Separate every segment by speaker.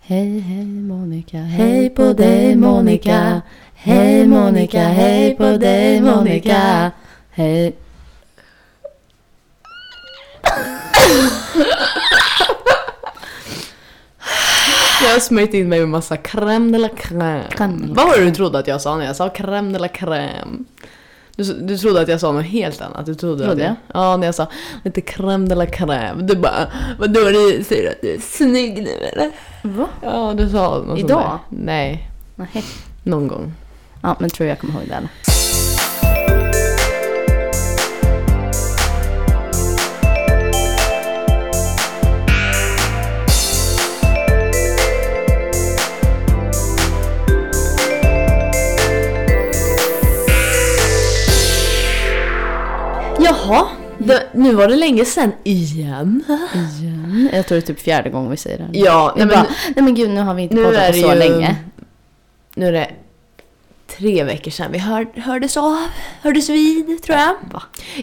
Speaker 1: Hej, hej Monica, hej på dig Monica. Hej Monica, hej på dig Monica. Hej.
Speaker 2: Jag har smörjt in mig med massa crème de la crème.
Speaker 1: Crème de la
Speaker 2: Vad var det du trodde att jag sa när jag sa crème de la crème? Du, du trodde att jag sa något helt annat. Du trodde
Speaker 1: Trodde
Speaker 2: att jag? Ja, när jag sa lite crème de la crème. Du bara, vadå du säger att du är snygg nu eller?
Speaker 1: Va?
Speaker 2: Ja, du sa något sånt
Speaker 1: Idag?
Speaker 2: där. Nej,
Speaker 1: Nej.
Speaker 2: någon gång.
Speaker 1: Ja, men tror jag kommer ihåg det. eller?
Speaker 2: Jaha, det, nu var det länge sedan igen.
Speaker 1: Igen. Jag tror det är typ fjärde gången vi säger det.
Speaker 2: Ja,
Speaker 1: Vi
Speaker 2: nej, men
Speaker 1: bara, nej men gud, nu har vi inte
Speaker 2: nu är
Speaker 1: poddat på
Speaker 2: det
Speaker 1: så
Speaker 2: ju-
Speaker 1: länge.
Speaker 2: nu är det tre veckor sedan vi hör, hördes av, hördes vid tror jag.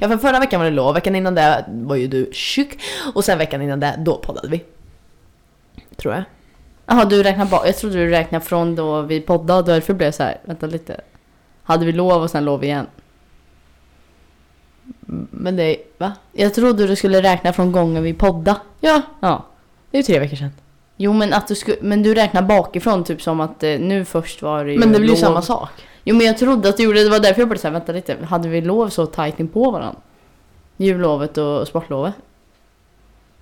Speaker 2: Ja, för förra veckan var det lov, veckan innan det var ju du sjuk och sen veckan innan det, då poddade vi. Tror jag.
Speaker 1: Jaha, du räknar bara. Jag trodde du räknade från då vi poddade och därför blev jag så här, vänta lite. Hade vi lov och sen lov igen?
Speaker 2: Men det, va?
Speaker 1: Jag trodde du skulle räkna från gången vi poddade.
Speaker 2: Ja,
Speaker 1: Ja.
Speaker 2: det är ju tre veckor sedan.
Speaker 1: Jo men att du skulle, men du räknar bakifrån typ som att eh, nu först var det ju
Speaker 2: Men det blir ju
Speaker 1: lov.
Speaker 2: samma sak.
Speaker 1: Jo men jag trodde att du gjorde det, det var därför jag började säga vänta lite, hade vi lov så tajt in på varandra? Jullovet och sportlovet?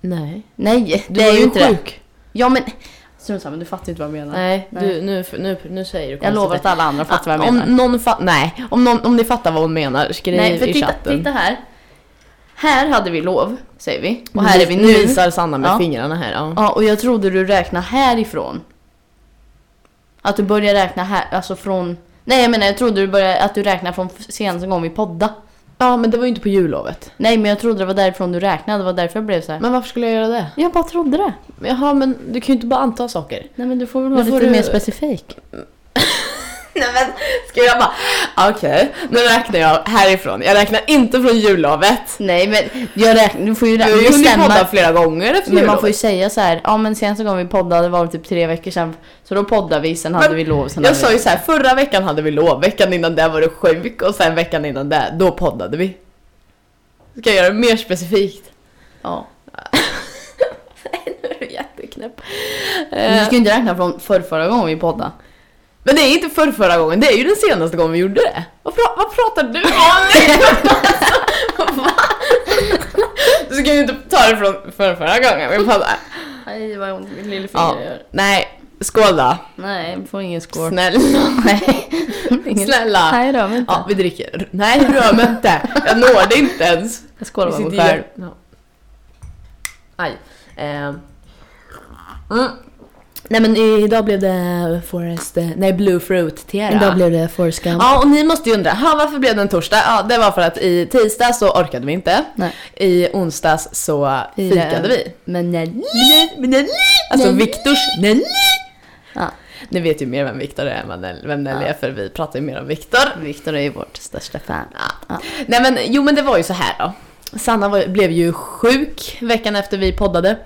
Speaker 2: Nej.
Speaker 1: Nej,
Speaker 2: Du
Speaker 1: det är
Speaker 2: var
Speaker 1: ju
Speaker 2: ju
Speaker 1: inte det.
Speaker 2: sjuk.
Speaker 1: Ja men, strunt samma, du fattar inte vad jag menar.
Speaker 2: Nej,
Speaker 1: Nej.
Speaker 2: Du, nu, nu, nu säger du
Speaker 1: jag
Speaker 2: konstigt.
Speaker 1: lovar att alla andra fattar vad jag
Speaker 2: om
Speaker 1: menar.
Speaker 2: Någon fa- nej, om, någon, om ni fattar vad hon menar, skriv
Speaker 1: Nej, för
Speaker 2: i
Speaker 1: titta,
Speaker 2: chatten.
Speaker 1: titta här. Här hade vi lov, säger vi. Och
Speaker 2: Och
Speaker 1: här är vi nu.
Speaker 2: visar Sanna med
Speaker 1: Ja.
Speaker 2: fingrarna här. Ja.
Speaker 1: Ja, och jag trodde du räknade härifrån. Att du börjar räkna här, alltså från... Nej, jag menar jag trodde du började, att du räknade från senaste gången vi podda.
Speaker 2: ja, men det var ju inte på jullovet.
Speaker 1: Nej, men jag trodde det var därifrån du räknade, det var därför jag blev så här.
Speaker 2: Men varför skulle jag göra det?
Speaker 1: jag bara trodde det.
Speaker 2: Jaha, men du kan ju inte bara anta saker.
Speaker 1: Nej, men du får väl
Speaker 2: vara lite mer
Speaker 1: specifik.
Speaker 2: Nej men, ska jag bara... Okej, nu räknar jag härifrån. Jag räknar inte från jullovet.
Speaker 1: Nej, men jag räknar, du får ju
Speaker 2: Du
Speaker 1: räkna.
Speaker 2: har ju hunnit
Speaker 1: bestämma-
Speaker 2: podda flera gånger efter
Speaker 1: Men
Speaker 2: jullovet.
Speaker 1: man får ju säga så här, ja men senaste gången vi poddade var det typ tre veckor sedan. Så då poddade vi, sen hade
Speaker 2: Men
Speaker 1: vi lov. Sen
Speaker 2: Jag
Speaker 1: hade vi...
Speaker 2: sa ju så här, förra veckan hade vi lov, veckan innan det var du sjuk och sen veckan innan det, då poddade vi. Ska jag göra det mer specifikt?
Speaker 1: Ja.
Speaker 2: Nu är du jätteknäpp.
Speaker 1: Men du ska ju inte räkna från förra, förra gången vi poddade.
Speaker 2: Men det är inte för förra gången, det är ju den senaste gången vi gjorde det. Vad, pra- vad pratar du om? Va? du ska ju inte ta det från för förra gången vi poddade.
Speaker 1: Nej, vad ont i mitt lillfinger
Speaker 2: Ja, nej, skål då.
Speaker 1: Nej, vi får ingen skål.
Speaker 2: Snälla.
Speaker 1: Nej. Ingen-
Speaker 2: Snälla.
Speaker 1: Nej, rör mig inte.
Speaker 2: Ja, vi dricker. Nej, rör mig inte. Jag når det inte ens.
Speaker 1: Jag skålar
Speaker 2: Vi
Speaker 1: med mig
Speaker 2: sitter
Speaker 1: själv.
Speaker 2: ju- Ja. Aj. Ehm. Mm. Nej men idag blev det Forest, eh, nej Blue Fruit Tera.
Speaker 1: blev det Forrest Gump.
Speaker 2: Ja, och ni måste ju undra, ha, varför blev det en torsdag? Ja, det var för att i tisdag så orkade vi inte.
Speaker 1: Nej.
Speaker 2: I onsdags så
Speaker 1: Firade.
Speaker 2: fikade vi.
Speaker 1: Men nej.
Speaker 2: Alltså
Speaker 1: Nej.
Speaker 2: Viktors Nelly.
Speaker 1: Ja.
Speaker 2: Ni vet ju mer vem Viktor är än vad Nell- vem Nelly
Speaker 1: Ja.
Speaker 2: är för vi pratar ju mer om Viktor.
Speaker 1: Viktor är ju vårt största fan. Ja.
Speaker 2: Nej men jo men det var ju så här då. Sanna var, blev ju sjuk veckan efter vi poddade.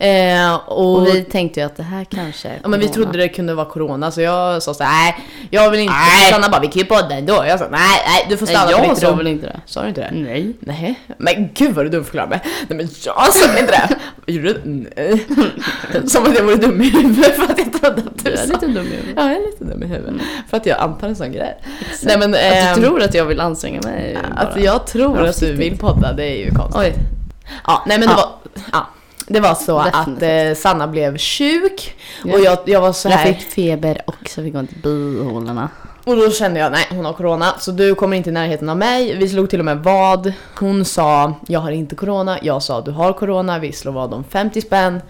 Speaker 2: Eh, och,
Speaker 1: Och vi tänkte ju att det här kanske är
Speaker 2: ja, men vi
Speaker 1: corona.
Speaker 2: trodde det kunde vara corona så jag sa så här, nej jag vill inte.
Speaker 1: Nej.
Speaker 2: Sanna bara vi kan ju podda ändå. Jag sa nej, nej du får stanna
Speaker 1: Nej,
Speaker 2: på
Speaker 1: jag
Speaker 2: ditt
Speaker 1: sa
Speaker 2: rum.
Speaker 1: väl inte det?
Speaker 2: Sa du inte det?
Speaker 1: Nej.
Speaker 2: Nej, men gud vad du dumförklarar mig. Nej men jag sa inte det. Gjorde du? Nej. Som att jag vore dum i huvudet för att jag trodde att
Speaker 1: Du
Speaker 2: du
Speaker 1: är
Speaker 2: sa.
Speaker 1: lite dum i huvudet.
Speaker 2: Ja, jag är lite dum i huvudet. För att jag antar en sån grej. Nej
Speaker 1: Nej,
Speaker 2: men
Speaker 1: men, att du
Speaker 2: ehm,
Speaker 1: tror att jag vill anstränga mig är ju bara...
Speaker 2: att jag tror att du
Speaker 1: Avsiktligt.
Speaker 2: vill podda, det är ju konstigt.
Speaker 1: alltså, Oj.
Speaker 2: Ja, nej men det
Speaker 1: Ja.
Speaker 2: var... Ja. Det var så
Speaker 1: Definitivt.
Speaker 2: att eh, Sanna blev sjuk
Speaker 1: Ja.
Speaker 2: och jag, jag var så
Speaker 1: Jag
Speaker 2: här
Speaker 1: fick feber och så fick jag ont i bihålorna.
Speaker 2: och då kände jag nej hon har corona så du kommer inte i närheten av mig. Vi slog till och med vad. Hon sa jag har inte corona, jag sa du har corona, vi slog vad om 50 spänn.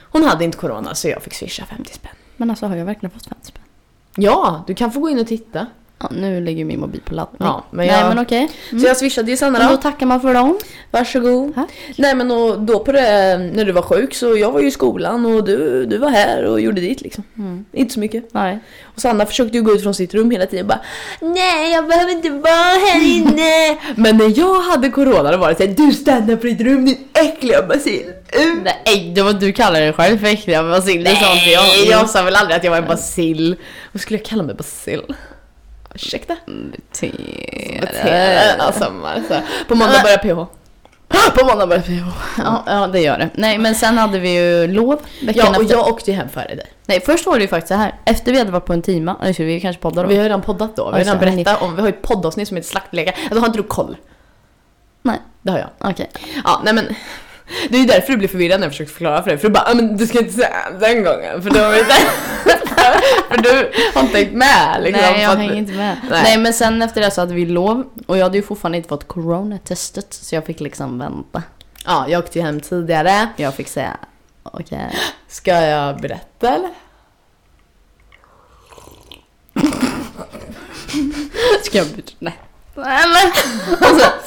Speaker 2: Hon hade inte corona så jag fick swisha 50 spänn.
Speaker 1: Men alltså har jag verkligen fått 50 spänn?
Speaker 2: Ja, du kan få gå in och titta.
Speaker 1: Ja, nu ligger min mobil på laddning.
Speaker 2: Ja, men
Speaker 1: Nej
Speaker 2: jag-
Speaker 1: men Mm. okej. Mm.
Speaker 2: Så jag swishade ju Sanna
Speaker 1: Men
Speaker 2: då.
Speaker 1: då tackar man för dem.
Speaker 2: Varsågod.
Speaker 1: Tack.
Speaker 2: Nej men och då på det, när du var sjuk så jag var ju i skolan och du, du var här och gjorde ditt liksom.
Speaker 1: Mm.
Speaker 2: Inte så mycket.
Speaker 1: Nej.
Speaker 2: Och Sanna försökte ju gå ut från sitt rum hela tiden bara Nej jag behöver inte vara här inne. men när jag hade corona då var det såhär du stannar på ditt rum din äckliga basil. Mm. Ut.
Speaker 1: Nej, det var du kallade dig själv för äckliga basil. Det sa inte jag.
Speaker 2: jag sa väl aldrig att jag var en basil. Vad skulle jag kalla mig basil? Ursäkta?
Speaker 1: Irriterad.
Speaker 2: Alltså, alltså. På måndag börjar PH. På måndag börjar PH.
Speaker 1: Ja, ja, det gör det. Nej, men sen hade vi ju lov veckan
Speaker 2: Ja, och
Speaker 1: efter.
Speaker 2: jag åkte ju hem före dig.
Speaker 1: Nej, först var det ju faktiskt så här. Efter vi hade varit på en timma, eller skulle vi kanske podda då?
Speaker 2: Vi har ju redan poddat då. Vi har
Speaker 1: Alltså,
Speaker 2: redan
Speaker 1: ni-
Speaker 2: berättat om, vi har ju ett poddavsnitt som heter Slaktlekar. Alltså har inte du koll?
Speaker 1: Nej,
Speaker 2: Det har jag.
Speaker 1: okej.
Speaker 2: Ja, nej men. Det är ju därför du blir förvirrad när jag försöker förklara för dig. För du bara, "Ah, men du ska inte säga den gången. För du har inte... för du har inte hängt med liksom.
Speaker 1: Nej,
Speaker 2: För
Speaker 1: jag
Speaker 2: att-
Speaker 1: hänger inte med.
Speaker 2: Nej.
Speaker 1: Nej. men sen efter det så hade vi lov och jag hade ju fortfarande inte fått coronatestet så jag fick liksom vänta.
Speaker 2: Ja, jag åkte ju hem tidigare.
Speaker 1: Jag fick säga okej.
Speaker 2: Ska jag berätta eller?
Speaker 1: Ska jag byta? Nej.
Speaker 2: Alltså-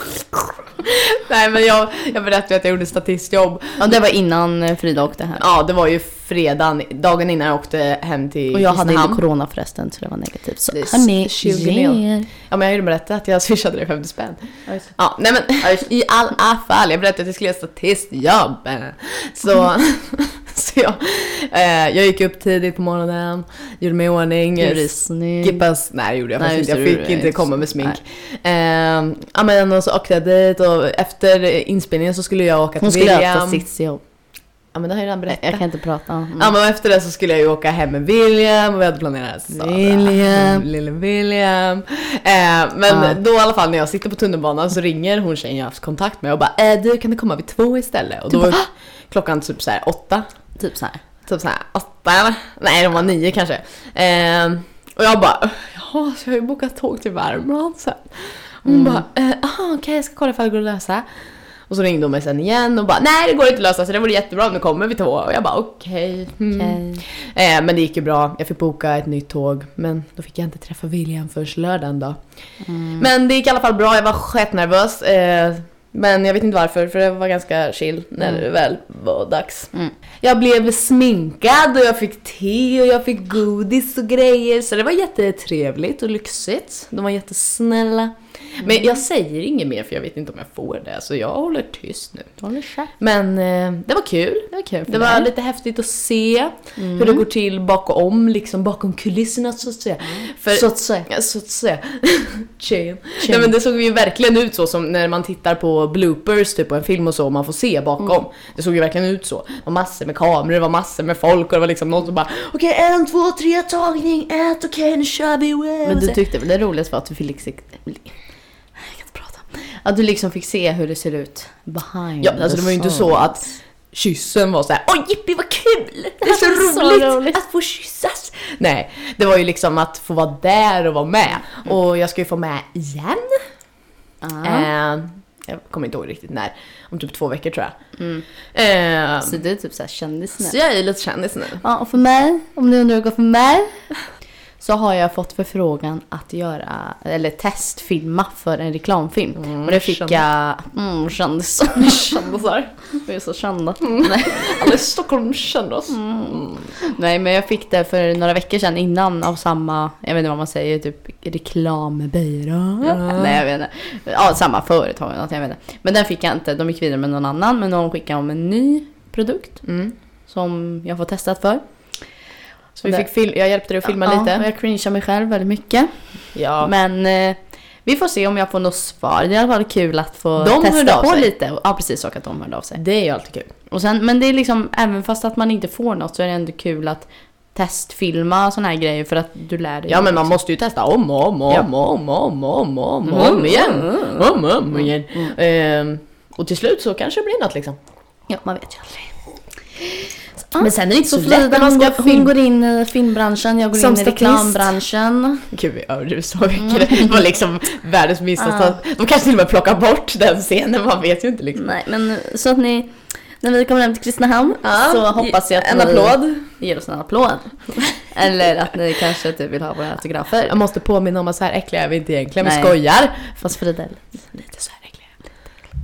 Speaker 2: Nej men jag, jag berättade att jag gjorde statistjobb.
Speaker 1: Ja, det var innan eh, Frida åkte hem.
Speaker 2: Ja, det var ju fredagen, dagen innan jag åkte hem till
Speaker 1: Och jag hade inte
Speaker 2: Kristinehamn.
Speaker 1: corona förresten så det var negativt. Så
Speaker 2: Det är
Speaker 1: hörni,
Speaker 2: tjugo
Speaker 1: ge
Speaker 2: lejon.
Speaker 1: er.
Speaker 2: Ja men jag har ju berättat att jag swishade dig 50 spänn.
Speaker 1: Ja, just det.
Speaker 2: Ja, nej men i alla fall. Jag berättade att jag skulle göra statistjobb. Så,
Speaker 1: Mm.
Speaker 2: så jag, eh, jag gick upp tidigt på morgonen, gjorde mig i ordning.
Speaker 1: Gjorde dig snygg.
Speaker 2: Skippas, nej det gjorde jag
Speaker 1: Nej,
Speaker 2: faktiskt
Speaker 1: just
Speaker 2: inte.
Speaker 1: det,
Speaker 2: Jag
Speaker 1: du-
Speaker 2: fick inte
Speaker 1: just-
Speaker 2: komma med smink. Ehm, ja men och så åkte jag dit och efter inspelningen så skulle jag åka till
Speaker 1: Hon skulle ha
Speaker 2: William.
Speaker 1: haft sitt jobb.
Speaker 2: Ja men det har jag redan
Speaker 1: Jag
Speaker 2: berättat.
Speaker 1: jag kan inte prata. Mm.
Speaker 2: Ja men efter det så skulle jag ju åka hem med William och vi hade planerat Sara.
Speaker 1: William.
Speaker 2: Lille William. Eh, men
Speaker 1: Ja.
Speaker 2: då i alla fall när jag sitter på tunnelbanan så ringer hon tjejen jag haft kontakt med och bara eh, du kan du komma vid två istället? Och då
Speaker 1: Du
Speaker 2: var
Speaker 1: bara,
Speaker 2: ju klockan typ såhär åtta.
Speaker 1: Typ så här.
Speaker 2: Typ såhär åtta eller? Nej de var nio kanske. Eh, och jag bara jaha så jag har ju bokat tåg till Värmland sen. Hon
Speaker 1: Mm.
Speaker 2: bara eh, aha okej jag ska kolla ifall det går att lösa. Och så ringde hon mig sen igen och bara nej det går inte att lösa så det vore jättebra om du kommer vid två. Och jag bara okej. mm.
Speaker 1: Okej.
Speaker 2: Eh, men det gick ju bra. Jag fick boka ett nytt tåg. Men då fick jag inte träffa William förrän lördagen
Speaker 1: Mm.
Speaker 2: då. Men det gick i alla fall bra. Jag var skitnervös. Eh, men jag vet inte varför, för det var ganska chill när det väl var dags.
Speaker 1: Mm.
Speaker 2: Jag blev sminkad och jag fick te och jag fick godis och grejer. Så det var jättetrevligt och lyxigt. De var jättesnälla.
Speaker 1: Mm.
Speaker 2: Men jag säger inget mer för jag vet inte om jag får det, så jag håller tyst nu.
Speaker 1: Du håller käft.
Speaker 2: Men eh, det var kul.
Speaker 1: Det var kul för
Speaker 2: Det var
Speaker 1: dig.
Speaker 2: lite häftigt att se hur det går till bakom, liksom bakom kulisserna så att säga. För,
Speaker 1: Så att säga.
Speaker 2: Ja, Mm. så att säga. Tjejen. Nej men det såg ju verkligen ut så som när man tittar på bloopers typ på en film och så och man får se bakom. Det såg ju verkligen ut så. Det var massor med kameror, det var massor med folk och det var liksom någon som bara Okej en, två, tre, tagning, ett, okej nu kör vi! wow."
Speaker 1: Men
Speaker 2: Och
Speaker 1: du
Speaker 2: så-
Speaker 1: tyckte väl det roligaste var att du fick liksom... Jag kan inte prata. Att du liksom fick se hur det ser ut behind
Speaker 2: Ja, alltså
Speaker 1: the
Speaker 2: det var ju inte så
Speaker 1: scenes.
Speaker 2: att kyssen var så här. Åh jippi vad kul! Det är
Speaker 1: här
Speaker 2: så,
Speaker 1: var så
Speaker 2: roligt,
Speaker 1: roligt."
Speaker 2: att få kyssas! Nej, det var ju liksom att få vara där och vara med. Och jag ska ju få med igen.
Speaker 1: Ja.
Speaker 2: Eh, jag kommer inte ihåg riktigt när. Om typ två veckor tror jag.
Speaker 1: Mm.
Speaker 2: Eh,
Speaker 1: Så du är typ såhär kändis
Speaker 2: så
Speaker 1: nu.
Speaker 2: jag är ju lite kändis nu.
Speaker 1: Ja, och för mig, om ni undrar hur det går för mig. Så har jag fått förfrågan att göra, eller testfilma för en reklamfilm.
Speaker 2: Mm,
Speaker 1: och det fick
Speaker 2: kändis.
Speaker 1: jag, mm, kändis.
Speaker 2: Kändisar.
Speaker 1: Vi är så kända.
Speaker 2: Mm. Alla i Stockholm känner oss.
Speaker 1: Mm. Nej men jag fick det för några veckor sedan innan av samma, jag vet inte vad man säger, typ reklambyrå.
Speaker 2: Ja.
Speaker 1: Nej jag vet inte. Ja, samma företag eller något, jag vet inte. Men den fick jag inte, de gick vidare med någon annan. Men någon skickade om en ny produkt
Speaker 2: Mm.
Speaker 1: som jag får testat för.
Speaker 2: Så vi fick fil- jag hjälpte dig att filma
Speaker 1: ja, och
Speaker 2: lite.
Speaker 1: jag cringear mig själv väldigt mycket.
Speaker 2: Ja.
Speaker 1: Men eh, vi får se om jag får något svar. Det är i alla fall kul att få
Speaker 2: De hörde av
Speaker 1: testa på
Speaker 2: sig.
Speaker 1: lite. Ja precis, och att de hörde av sig.
Speaker 2: Det är ju alltid kul.
Speaker 1: Och sen, men det är liksom, även fast att man inte får något så är det ändå kul att testfilma såna här grejer för att du lär dig.
Speaker 2: Ja men man måste ju testa om och om och
Speaker 1: Ja.
Speaker 2: om och om och om och om och om,
Speaker 1: Mm.
Speaker 2: och om igen. Om och om igen. Ehm, och till slut så kanske det blir något liksom.
Speaker 1: Ja, man vet ju aldrig.
Speaker 2: Men sen är det inte så
Speaker 1: Så
Speaker 2: lätt när man ska
Speaker 1: hon,
Speaker 2: film.
Speaker 1: går in i filmbranschen, jag går
Speaker 2: Som
Speaker 1: in i
Speaker 2: statist.
Speaker 1: reklambranschen.
Speaker 2: Gud vi överdrev så mycket.
Speaker 1: Mm.
Speaker 2: Det var liksom världens misstag.
Speaker 1: Ah.
Speaker 2: De kanske till och med plockar bort den scenen, man vet ju inte liksom.
Speaker 1: Nej, men så att ni, när vi kommer hem till Kristinehamn så hoppas jag att
Speaker 2: En
Speaker 1: ni
Speaker 2: applåd.
Speaker 1: ger oss en applåd. Eller att ni kanske typ vill ha våra autografer.
Speaker 2: Jag måste påminna om att så här äckliga är vi inte egentligen, vi
Speaker 1: Nej.
Speaker 2: skojar.
Speaker 1: Fast Fridell.
Speaker 2: Lite så här äckliga.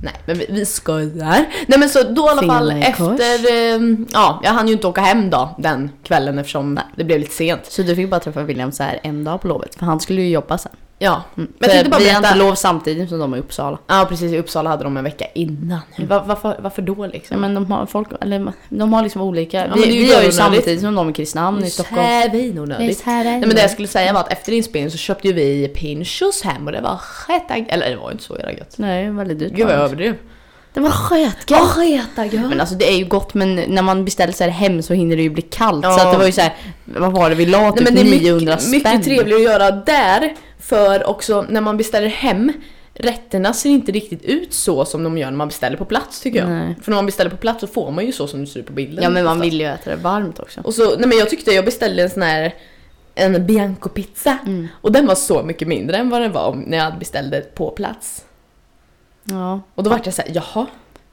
Speaker 2: Nej, men vi, vi skojar. Nej men så då i alla
Speaker 1: Fingrarna
Speaker 2: fall
Speaker 1: i kors.
Speaker 2: efter... ehm, ja, jag hann ju inte åka hem då den kvällen eftersom det blev lite sent.
Speaker 1: Så du fick bara träffa William så här en dag på lovet. För han skulle ju jobba sen.
Speaker 2: Ja.
Speaker 1: Mm.
Speaker 2: Men jag tänkte
Speaker 1: För
Speaker 2: bara
Speaker 1: vi har
Speaker 2: berätta.
Speaker 1: inte lov samtidigt som de är i Uppsala.
Speaker 2: Ja precis, i Uppsala hade de en vecka innan.
Speaker 1: Mm.
Speaker 2: Va- varför, varför då
Speaker 1: Nej,
Speaker 2: liksom?
Speaker 1: men de har, folk, eller, de har liksom olika.
Speaker 2: Ja,
Speaker 1: vi
Speaker 2: men det är ju
Speaker 1: vi gör ju
Speaker 2: onödigt.
Speaker 1: samtidigt som de i Kristinehamn i Stockholm.
Speaker 2: Svinonödigt. Nej men det jag skulle säga var att efter inspelningen så köpte ju vi Pinchos hem och det var sketa... Eller det var ju inte så jävla gött.
Speaker 1: Nej, det var väldigt dyrt.
Speaker 2: Gud vad jag överdrev.
Speaker 1: Det var skötgött.
Speaker 2: Vad sketa gött.
Speaker 1: Men alltså det är ju gott men när man beställer så här hem så hinner det ju bli kallt.
Speaker 2: Ja.
Speaker 1: Så att det var ju så här, vad var det vi la? Typ
Speaker 2: Nej, men det är
Speaker 1: 900
Speaker 2: mycket,
Speaker 1: spänn.
Speaker 2: mycket trevligare att göra där. För också när man beställer hem, rätterna ser inte riktigt ut så som de gör när man beställer på plats tycker jag.
Speaker 1: Nej.
Speaker 2: För när man beställer på plats så får man ju så som det ser ut på bilden.
Speaker 1: Ja men man
Speaker 2: oftast.
Speaker 1: vill ju äta det varmt också.
Speaker 2: Och så, nej men jag tyckte jag beställde en sån här en bianco-pizza.
Speaker 1: Mm.
Speaker 2: Och den var så mycket mindre än vad den var om- när jag beställde på plats.
Speaker 1: Ja.
Speaker 2: Och då vart jag såhär, jaha?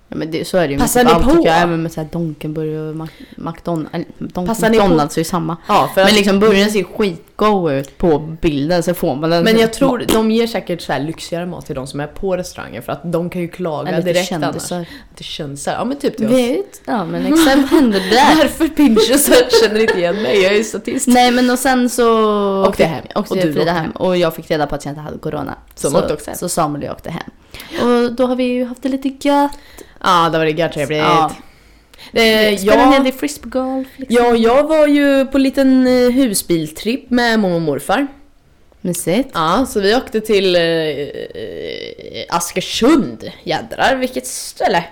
Speaker 1: ja men det, så är det ju
Speaker 2: Passar
Speaker 1: med
Speaker 2: ni
Speaker 1: allt
Speaker 2: på?
Speaker 1: tycker jag. Även med så här Donkenburg och Mac- McDonald's. Don-
Speaker 2: Passar ni på?
Speaker 1: McDonald's är ju samma.
Speaker 2: Ja, för
Speaker 1: Men liksom burgaren ser skitgod ut på bilden så får man den.
Speaker 2: Men jag tror de ger säkert så här lyxigare mat till de som är på restaurangen för att de kan ju klaga
Speaker 1: Eller
Speaker 2: direkt
Speaker 1: direkt
Speaker 2: annars.
Speaker 1: kändisar.
Speaker 2: Till kändisar. Ja men typ till oss.
Speaker 1: Vet, ja men exakt vad hände där?
Speaker 2: Varför Pinchos känner inte igen mig? Jag är ju statist.
Speaker 1: Nej men och sen så
Speaker 2: Åkte jag hem.
Speaker 1: Åkte
Speaker 2: Och du åkte
Speaker 1: Frida hem.
Speaker 2: hem.
Speaker 1: Och jag fick reda på att jag inte hade corona.
Speaker 2: Som
Speaker 1: så,
Speaker 2: åkte också hem.
Speaker 1: så Samuel och jag åkte hem. Och då har vi ju haft det lite gött.
Speaker 2: Ja, det var det görtrevligt.
Speaker 1: Ja.
Speaker 2: Eh,
Speaker 1: Spelar en hel
Speaker 2: jag,
Speaker 1: del frisbeegolf. Liksom.
Speaker 2: ja, jag var ju på en liten eh, husbiltripp med mormor och morfar.
Speaker 1: Mysigt.
Speaker 2: Ja, så vi åkte till eh, eh, Askersund. Jädrar vilket ställe.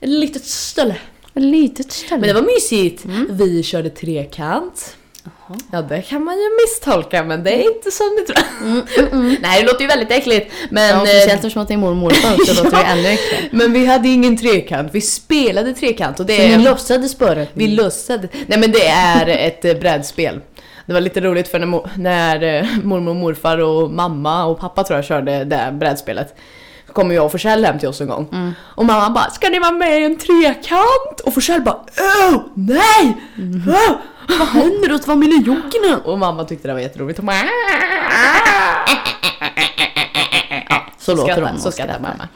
Speaker 2: Ett litet ställe.
Speaker 1: Ett litet ställe.
Speaker 2: Men det var mysigt.
Speaker 1: Mm.
Speaker 2: Vi körde trekant. Ja, det kan man ju misstolka men
Speaker 1: Mm.
Speaker 2: det är inte som ni tror. Nej, det låter ju väldigt äckligt. Men,
Speaker 1: Ja, och
Speaker 2: eh,
Speaker 1: speciellt eftersom att det är mormor och morfar också, låter det
Speaker 2: Ja.
Speaker 1: ännu äckligare.
Speaker 2: men vi hade ingen trekant, vi spelade trekant och det
Speaker 1: Så ni låtsades bara?
Speaker 2: Vi lussade. Nej men det är ett eh, brädspel. Det var lite roligt för när, mo- när eh, mormor och morfar och mamma och pappa tror jag körde det här brädspelet. Så kom ju jag och Forsell hem till oss en gång. Och mamma bara “Ska ni vara med i en trekant?” Och Forsell bara “Åh, nej! Åh, Mm. vad händer åt familjejocken?” Och mamma tyckte det var jätteroligt. Hon bara,
Speaker 1: så låter
Speaker 2: Skrattar,
Speaker 1: hon.
Speaker 2: Så skrattar mamma.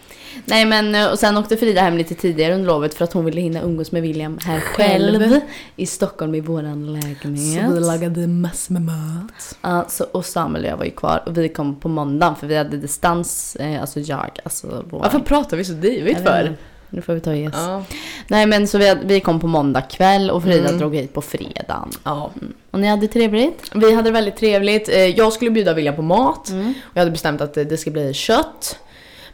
Speaker 1: Nej men eh, och sen åkte Frida hem lite tidigare under lovet för att hon ville hinna umgås med William här
Speaker 2: Själv.
Speaker 1: själv. I Stockholm i våran
Speaker 2: Så vi
Speaker 1: lägenhet.
Speaker 2: lagade massor med mat.
Speaker 1: Ja, så, och Samuel och jag var ju kvar och vi kom på måndagen för vi hade distans, eh, alltså jag, alltså vår...
Speaker 2: Varför pratar vi så divigt
Speaker 1: Jag vet
Speaker 2: för?
Speaker 1: inte. Nu får vi ta yes.
Speaker 2: Ja.
Speaker 1: Nej men så vi, vi kom på måndag kväll och Frida
Speaker 2: Mm.
Speaker 1: drog hit på fredagen.
Speaker 2: ja.
Speaker 1: Och ni hade trevligt?
Speaker 2: Vi hade det väldigt trevligt. Eh, Jag skulle bjuda William på mat. Och jag hade bestämt att eh, det ska bli kött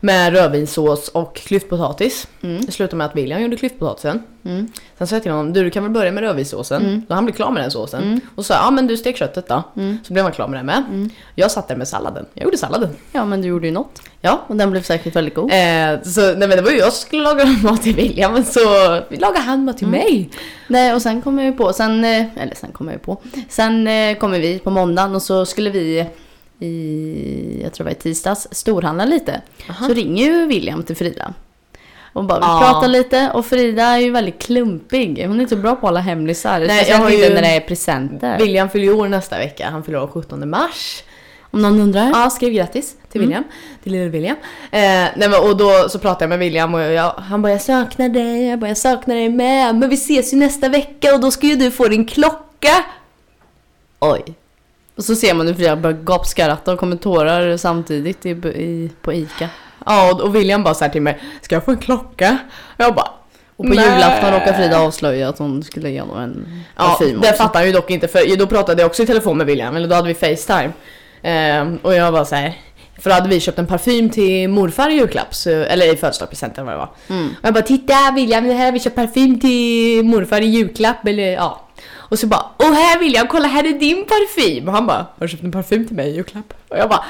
Speaker 2: med rödvinssås och klyftpotatis.
Speaker 1: Mm.
Speaker 2: Det slutade med att William gjorde klyftpotatisen.
Speaker 1: Mm.
Speaker 2: Sen sa jag till honom, du, du kan väl börja med rödvinssåsen? Då han blev klar med den såsen.
Speaker 1: Mm.
Speaker 2: Och sa, ja men du stek köttet då. Så blev han klar med det med. Jag satt där med salladen. Jag gjorde salladen.
Speaker 1: Ja men du gjorde ju något.
Speaker 2: Ja.
Speaker 1: Och den blev säkert väldigt god.
Speaker 2: Eh, så nej men det var ju jag som skulle laga mat till William, men så lagade han mat till mig.
Speaker 1: Nej och sen kommer vi på, sen, eh, eller sen kommer vi på, sen eh, kommer vi på måndagen och så skulle vi i, jag tror det var i tisdags, storhandla lite. Så ringer ju William till Frida. Och bara vi
Speaker 2: Ja.
Speaker 1: pratar lite och Frida är ju väldigt klumpig. Hon är inte så bra på alla hemlisar.
Speaker 2: jag
Speaker 1: Nej, jag
Speaker 2: har
Speaker 1: har inte
Speaker 2: ju-
Speaker 1: när det är presenter.
Speaker 2: William fyller ju år nästa vecka, han fyller år 17 mars.
Speaker 1: Om någon undrar.
Speaker 2: Ja, skrev grattis till William. Till lille William. Eh, nej men, och då så pratade jag med William och jag, han bara jag saknar dig, jag bara jag saknar dig med. Men vi ses ju nästa vecka och då ska ju du få din klocka.
Speaker 1: Oj. Och så ser man hur Frida börjar gapskratta och kommer tårar samtidigt i, i, på ICA.
Speaker 2: Ja och, och William bara så här till mig, ska jag få en klocka? Och jag bara
Speaker 1: Och på julafton råkar Frida avslöja att hon skulle ge honom en
Speaker 2: Ja,
Speaker 1: parfym
Speaker 2: det
Speaker 1: också.
Speaker 2: fattar jag ju dock inte för då pratade jag också i telefon med William, eller då hade vi Facetime. Ehm, och jag var så här. För då hade vi köpt en parfym till morfar i julklapp, så, eller i födelsedagspresent eller vad det var.
Speaker 1: Mm.
Speaker 2: Och jag bara “Titta William, det här vi köpt parfym till morfar i julklapp” eller ja. Och så bara “Åh här William, kolla här är din parfym” och han bara “Har du köpt en parfym till mig i julklapp?” Och jag bara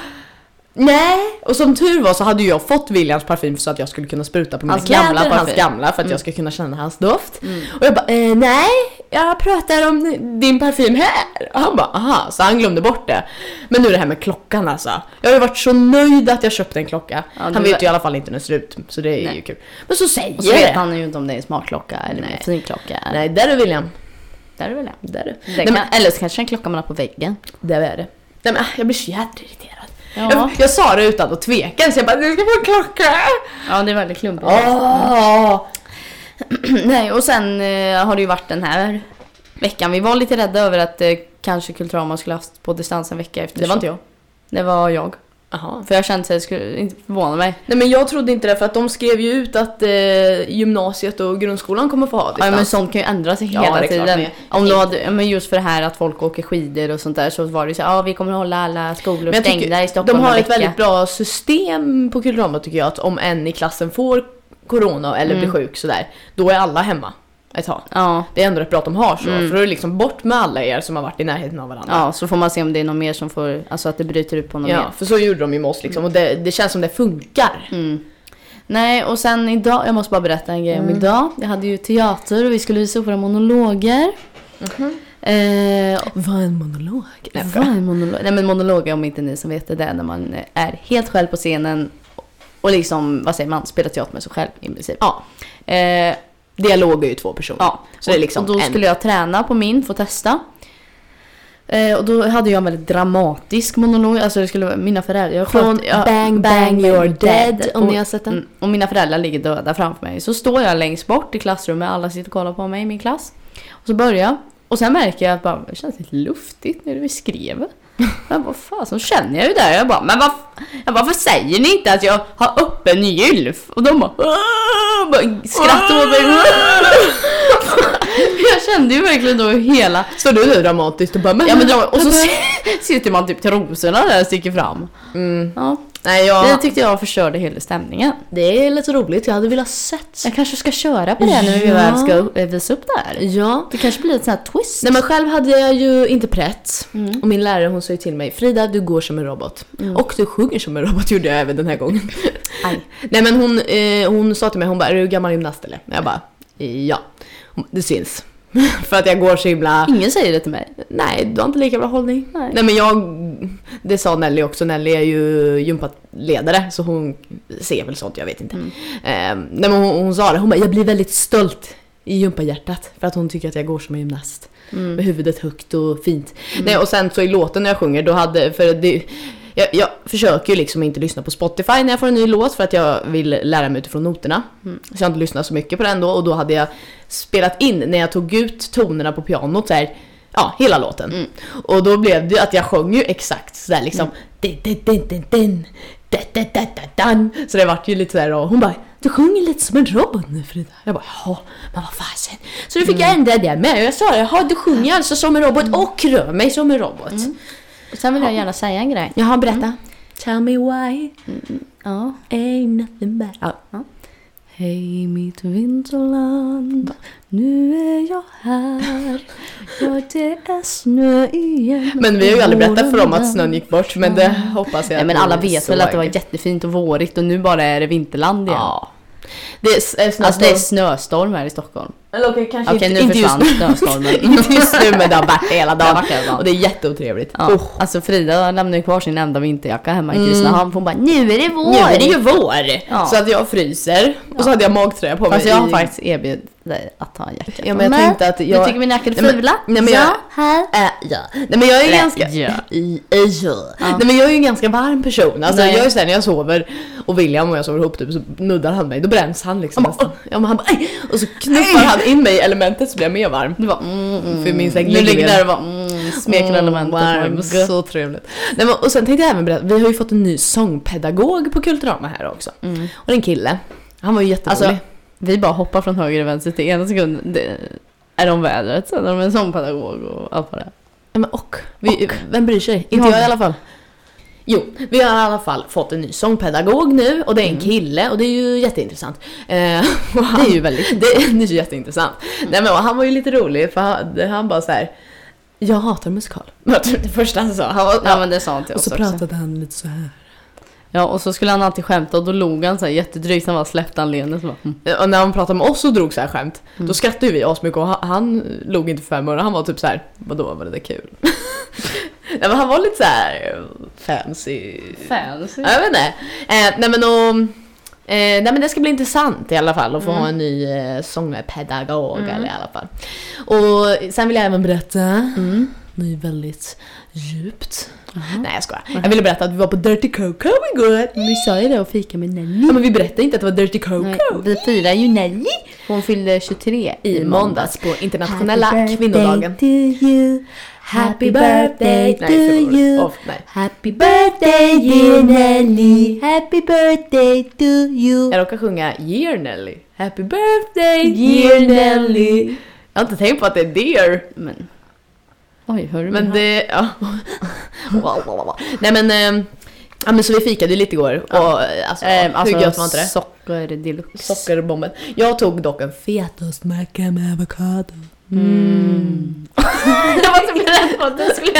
Speaker 2: Nej! Och som tur var så hade ju jag fått Williams parfym så att jag skulle kunna spruta på mina
Speaker 1: Hans
Speaker 2: kläder,
Speaker 1: gamla
Speaker 2: hans
Speaker 1: parfym.
Speaker 2: gamla, för att jag ska kunna känna hans doft.
Speaker 1: Mm.
Speaker 2: Och jag bara eh, nej, jag pratar om din parfym här. Och han bara aha, så han glömde bort det. Men nu det här med klockan alltså. Jag har ju varit så nöjd att jag köpte en klocka.
Speaker 1: Ja,
Speaker 2: han
Speaker 1: du
Speaker 2: vet
Speaker 1: var-
Speaker 2: ju i alla fall inte när den ser ut, så det är
Speaker 1: Nej.
Speaker 2: ju kul. Men så säger
Speaker 1: Och så
Speaker 2: jag
Speaker 1: vet
Speaker 2: det.
Speaker 1: han ju inte om det är en smartklocka eller en
Speaker 2: Nej.
Speaker 1: fin klocka.
Speaker 2: Nej, där är William.
Speaker 1: Där är väl det.
Speaker 2: Där är det.
Speaker 1: det
Speaker 2: Nej,
Speaker 1: kan,
Speaker 2: men-
Speaker 1: Eller så kanske det är en klocka man har på väggen.
Speaker 2: Där är det. Nej men ah, jag blir så jävla irriterad.
Speaker 1: Ja.
Speaker 2: Jag, jag sa det utan att tveka så jag bara du ska få en klocka! Ah.
Speaker 1: Ja, det är väldigt klumpigt.
Speaker 2: Åh!
Speaker 1: Nej, och sen eh, har det ju varit den här veckan. Vi var lite rädda över att eh, kanske Kulturama skulle haft på distans en vecka efter.
Speaker 2: Det var inte jag.
Speaker 1: Det var jag.
Speaker 2: Aha.
Speaker 1: För jag kände att det skulle inte förvåna mig.
Speaker 2: Nej men jag trodde inte det för att de skrev ju ut att eh, gymnasiet och grundskolan kommer få ha
Speaker 1: Ja, men
Speaker 2: distans.
Speaker 1: sånt kan ju ändra sig
Speaker 2: Ja,
Speaker 1: hela
Speaker 2: det är klart,
Speaker 1: tiden.
Speaker 2: men-
Speaker 1: Om du hade, ja, men just för det här att folk åker skidor och sånt där så var det ju så ja ah, vi kommer hålla alla skolor
Speaker 2: jag tycker-
Speaker 1: stängda i Stockholm
Speaker 2: de har
Speaker 1: en
Speaker 2: ett
Speaker 1: vecka.
Speaker 2: väldigt bra system på Kulturama tycker jag att om en i klassen får corona eller blir sjuk sådär, då är alla hemma ett tag.
Speaker 1: Ja.
Speaker 2: Det är ändå rätt bra att de har så,
Speaker 1: Mm.
Speaker 2: för då är det liksom bort med alla er som har varit i närheten av varandra.
Speaker 1: ja, så får man se om det är någon mer som får, alltså att det bryter ut på någon mer.
Speaker 2: Ja, för så gjorde de ju med oss liksom och det, det känns som det funkar.
Speaker 1: Mm. Nej, och sen idag, jag måste bara berätta en grej om idag. Jag hade ju teater och vi skulle visa våra monologer. Eh, och-
Speaker 2: Vad är en monolog? Nej,
Speaker 1: vad är en monolog? Nej men monologer om inte ni som vet det, det är när man eh, är helt själv på scenen och liksom, vad säger man, spelar teater med sig själv i princip.
Speaker 2: Ja,
Speaker 1: Eh,
Speaker 2: dialog är ju två personer.
Speaker 1: Ja,
Speaker 2: Så det är liksom
Speaker 1: och då
Speaker 2: en-
Speaker 1: skulle jag träna på min, få testa. Eh, och då hade jag en väldigt dramatisk monolog, alltså det skulle vara mina föräldrar. Jag
Speaker 2: Från
Speaker 1: sköt- jag,
Speaker 2: Bang Bang You're Dead, om
Speaker 1: och,
Speaker 2: ni har sett den.
Speaker 1: Mm, Och mina föräldrar ligger döda framför mig. Så står jag längst bort i klassrummet, alla sitter och kollar på mig i min klass. Och så börjar jag. Och sen märker jag att bara, det känns lite luftigt när vi skrev. Men vad fan, så känner jag ju där. Jag bara, men vad, jag bara, varför säger ni inte att jag har öppen gylf? Och de bara, "Åh!" bara skrattar åt mig. Jag kände ju verkligen då hela...
Speaker 2: Står du nu dramatiskt och bara men...
Speaker 1: Ja, men dra- och så sitter man typ trosorna där och sticker fram.
Speaker 2: Mm.
Speaker 1: Ja.
Speaker 2: Nej,
Speaker 1: Det
Speaker 2: jag...
Speaker 1: tyckte jag förstörde hela stämningen.
Speaker 2: typ- Det är lite roligt, jag hade velat sett.
Speaker 1: Jag kanske ska köra på det när vi
Speaker 2: Ja.
Speaker 1: väl ska eh, visa upp det här.
Speaker 2: Ja.
Speaker 1: Det kanske blir ett sånt här twist. Mm.
Speaker 2: Nej men själv hade jag ju inte prätt. Och min lärare hon sa ju till mig Frida du går som en robot. Och du sjunger som en robot gjorde jag även den här gången.
Speaker 1: Aj.
Speaker 2: Nej men hon, eh, hon sa till mig, hon bara är du gammal gymnast eller? Jag bara ja. Hon, bara, det syns. För att jag går så himla...
Speaker 1: Ingen säger det till mig.
Speaker 2: Nej, du har inte lika bra hållning.
Speaker 1: Nej.
Speaker 2: Nej men jag, det sa Nelly också, Nelly är ju gympaledare så hon ser väl sånt, jag vet inte. Eh, nej men hon, hon sa det, hon bara jag blir väldigt stolt i gympahjärtat för att hon tycker att jag går som en gymnast.
Speaker 1: Mm.
Speaker 2: Med huvudet högt och fint. Nej och sen så i låten när jag sjunger, då hade, för det, jag, jag försöker ju liksom inte lyssna på Spotify när jag får en ny låt för att jag vill lära mig utifrån noterna. Så jag har inte lyssnat så mycket på den då och då hade jag spelat in när jag tog ut tonerna på pianot så här Ja, hela låten. Och då blev det ju att jag sjöng ju exakt sådär liksom. Din, din, din, din, din. Da, da, da, da, dan. Så det vart ju lite sådär och hon bara Du sjunger lite som en robot nu Frida. Jag bara jaha, men vad fasen. Så då fick jag ändra det med. Jag sa jaha du sjunger alltså som en robot och rör mig som en robot.
Speaker 1: Och sen vill jag gärna säga en grej.
Speaker 2: Jaha, berätta. Mm. Tell me why
Speaker 1: Ja.
Speaker 2: ain't nothing bad. Ja.
Speaker 1: Hej mitt vinterland, nu är jag här. Ja, det är snö igen.
Speaker 2: Men vi har ju aldrig berättat för dem att snön gick bort men det hoppas jag
Speaker 1: Mm. Nej men
Speaker 2: ni
Speaker 1: alla vet väl
Speaker 2: såg.
Speaker 1: att det var jättefint och vårigt och nu bara är det vinterland igen.
Speaker 2: Ja. Det är, s- är snart
Speaker 1: Alltså det är snöstorm här i Stockholm.
Speaker 2: Eller okej, kanske
Speaker 1: Okej nu försvann
Speaker 2: just nu.
Speaker 1: snöstormen.
Speaker 2: inte just nu men det har varit det hela
Speaker 1: Det har
Speaker 2: dagen.
Speaker 1: varit det hela dagen.
Speaker 2: Och det är jätteotrevligt.
Speaker 1: Ja,
Speaker 2: Usch. Mm.
Speaker 1: Alltså Frida lämnade ju kvar sin enda vinterjacka hemma i Kristinehamn. Hon bara nu är det vår!
Speaker 2: Nu är det ju vår!
Speaker 1: Ja.
Speaker 2: Så att jag fryser och så hade jag magtröja på mig.
Speaker 1: Fast jag har
Speaker 2: i-
Speaker 1: faktiskt erbjudit dig att ta en jacka.
Speaker 2: Ja, men jag tänkte att jag-
Speaker 1: Du tycker min jacka är
Speaker 2: Nej, men-
Speaker 1: fula?
Speaker 2: nej, men jag-
Speaker 1: Så, här.
Speaker 2: Äh, ja. Nej men jag är
Speaker 1: Rätt,
Speaker 2: ganska...
Speaker 1: ja.
Speaker 2: I- äh, ja. Nej men jag är ju en ganska varm person. Alltså
Speaker 1: Nej.
Speaker 2: jag är såhär när jag sover och William och jag sover ihop typ så nuddar han mig, då bränns han liksom nästan. Ja, men han bara, "Aj!" och så knuffar
Speaker 1: Aj!
Speaker 2: han in mig i elementet så blir jag mer varm.
Speaker 1: Du bara mm, mm.
Speaker 2: För min säng
Speaker 1: Nu ligger
Speaker 2: vi-
Speaker 1: där och bara mm, smeker
Speaker 2: Mm,
Speaker 1: elementet.
Speaker 2: Warm,
Speaker 1: Wow.
Speaker 2: så trevligt. Nej, men, och sen tänkte jag även berätta, vi har ju fått en ny sångpedagog på Kulturama här också.
Speaker 1: Mm.
Speaker 2: Och det är en kille. Han var ju jätterolig.
Speaker 1: Alltså, vi bara hoppar från höger till vänster till ena sekunden det, är de vädret, sen är de en sångpedagog och allt vad det är.
Speaker 2: ja, men och, vi,
Speaker 1: och.
Speaker 2: Vem bryr sig? Inte
Speaker 1: Ja.
Speaker 2: jag i alla fall. Jo, vi har i alla fall fått en ny sångpedagog nu och det är en kille och det är ju jätteintressant. Eh, och han,
Speaker 1: Mm. Det är ju väldigt
Speaker 2: det, är- det är ju jätteintressant. Nej, men, och han var ju lite rolig för han, han bara så här. Jag hatar musikal. Det första han sa. Han var,
Speaker 1: Ja men det sa han till
Speaker 2: och
Speaker 1: oss
Speaker 2: så
Speaker 1: också.
Speaker 2: pratade han lite så här.
Speaker 1: Ja och så skulle han alltid skämta och då log han så här jättedrygt, han bara släppte han leendet och bara, mm.
Speaker 2: Och Eh, när han pratade med oss och drog så här skämt, då skrattade ju vi asmycket och han, han log inte för fem öre. Han var typ så här, vadå var det där kul? nej men han var lite så här eh, fancy.
Speaker 1: Fancy.
Speaker 2: Ja, Jag vet inte. Eh, nej men och, Eh, nej men det ska bli intressant i alla fall att få ha en ny eh, sångpedagog eller i alla fall. Och sen vill jag även berätta, det är väldigt djupt. Nej jag skojar. Jag ville berätta att vi var på Dirty Coco igår.
Speaker 1: Vi sa ju det och fika med Nelly.
Speaker 2: Ja, men vi berättade inte att det var Dirty Coco.
Speaker 1: Nej, vi firar ju Nelly. Hon fyllde 23
Speaker 2: I måndags på internationella
Speaker 1: Happy
Speaker 2: kvinnodagen.
Speaker 1: birthday to you. Happy birthday to
Speaker 2: nej, förlåt.
Speaker 1: you.
Speaker 2: Åh, nej.
Speaker 1: Happy birthday dear Nelly. Happy birthday to you.
Speaker 2: Jag råkar sjunga Year Nelly. Happy birthday
Speaker 1: Dear
Speaker 2: Year Nelly. Jag har inte tänkt på att det är dear.
Speaker 1: Men... Oj, hör du
Speaker 2: Men
Speaker 1: min
Speaker 2: det, ja. Wow, wow, wow. Nej men, ehm, ja men så vi fikade ju lite igår och eh, alltså,
Speaker 1: hand? Ehm,
Speaker 2: hur gött var inte det?
Speaker 1: Socker deluxe.
Speaker 2: Sockerbomben. Jag tog dock en fetostmacka med avokado. Mm. jag var så beredd på att du skulle...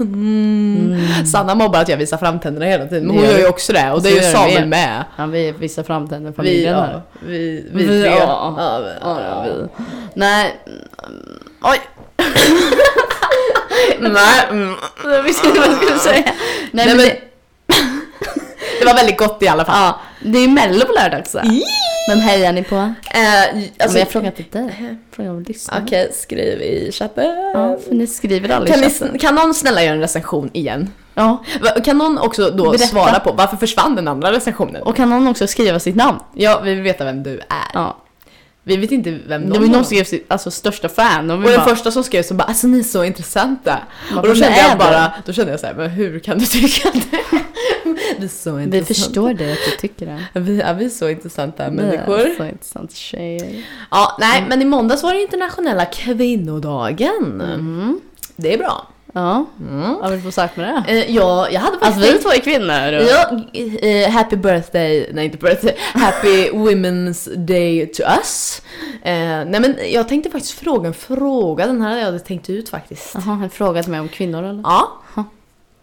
Speaker 2: Mm. Sanna mobbar att jag visar framtänderna hela tiden, men hon
Speaker 1: Det
Speaker 2: gör
Speaker 1: gör
Speaker 2: ju
Speaker 1: du.
Speaker 2: också det och det
Speaker 1: Så
Speaker 2: gör ju
Speaker 1: gör vi.
Speaker 2: Samuel med.
Speaker 1: Ja, vi visar fram den
Speaker 2: Vi,
Speaker 1: familjen
Speaker 2: ja,
Speaker 1: här.
Speaker 2: vi, vi,
Speaker 1: Vi,
Speaker 2: tre.
Speaker 1: ja.
Speaker 2: Ja, vi,
Speaker 1: Ja, ja,
Speaker 2: vi.
Speaker 1: vi. Nej. mm, Oj.
Speaker 2: Nej, mm.
Speaker 1: Jag visste inte vad jag skulle säga. Nej,
Speaker 2: Nej,
Speaker 1: men
Speaker 2: men-
Speaker 1: det,
Speaker 2: det var väldigt gott i alla fall.
Speaker 1: ja, det är ju mello på lördag också. Vem hejar ni på?
Speaker 2: Eh,
Speaker 1: Ja,
Speaker 2: alltså,
Speaker 1: men jag frågar inte dig. Jag frågar om lyssnarna.
Speaker 2: Okej, skriv i chatten.
Speaker 1: Ja, för ni skriver aldrig
Speaker 2: Kan,
Speaker 1: i
Speaker 2: ni,
Speaker 1: chatten.
Speaker 2: kan någon snälla göra en recension igen?
Speaker 1: Ja.
Speaker 2: Va- Kan någon också då
Speaker 1: Berätta.
Speaker 2: svara på varför försvann den andra recensionen?
Speaker 1: Och kan någon också skriva sitt namn?
Speaker 2: ja, vi vill veta vem du är.
Speaker 1: Ja.
Speaker 2: Vi vet inte vem
Speaker 1: Det
Speaker 2: någon
Speaker 1: var ju någon
Speaker 2: var.
Speaker 1: som skrev sitt alltså, största fan. Och, vi
Speaker 2: Och den
Speaker 1: bara,
Speaker 2: första som skrev så bara alltså ni är så intressanta.
Speaker 1: Man
Speaker 2: och
Speaker 1: bara,
Speaker 2: då kände
Speaker 1: "Men
Speaker 2: jag
Speaker 1: är
Speaker 2: bara, då kände jag så här, men hur kan du tycka det? vi är så intressanta.
Speaker 1: vi förstår dig att du tycker det.
Speaker 2: Vi är, vi är så intressanta
Speaker 1: Det
Speaker 2: människor.
Speaker 1: är så intressant tjejer.
Speaker 2: Ja, nej men i måndags var det internationella kvinnodagen.
Speaker 1: Mm.
Speaker 2: Det är bra.
Speaker 1: Ja. Vad vill du få sagt med det?
Speaker 2: Eh, ja, jag hade faktiskt
Speaker 1: Att vi två är kvinnor. och-
Speaker 2: Ja, eh, happy birthday, nej inte birthday, happy women's day to us. Eh, nej men jag tänkte faktiskt fråga en fråga, den här hade jag tänkt ut faktiskt.
Speaker 1: Jaha, en fråga till mig om kvinnor eller?
Speaker 2: Ja.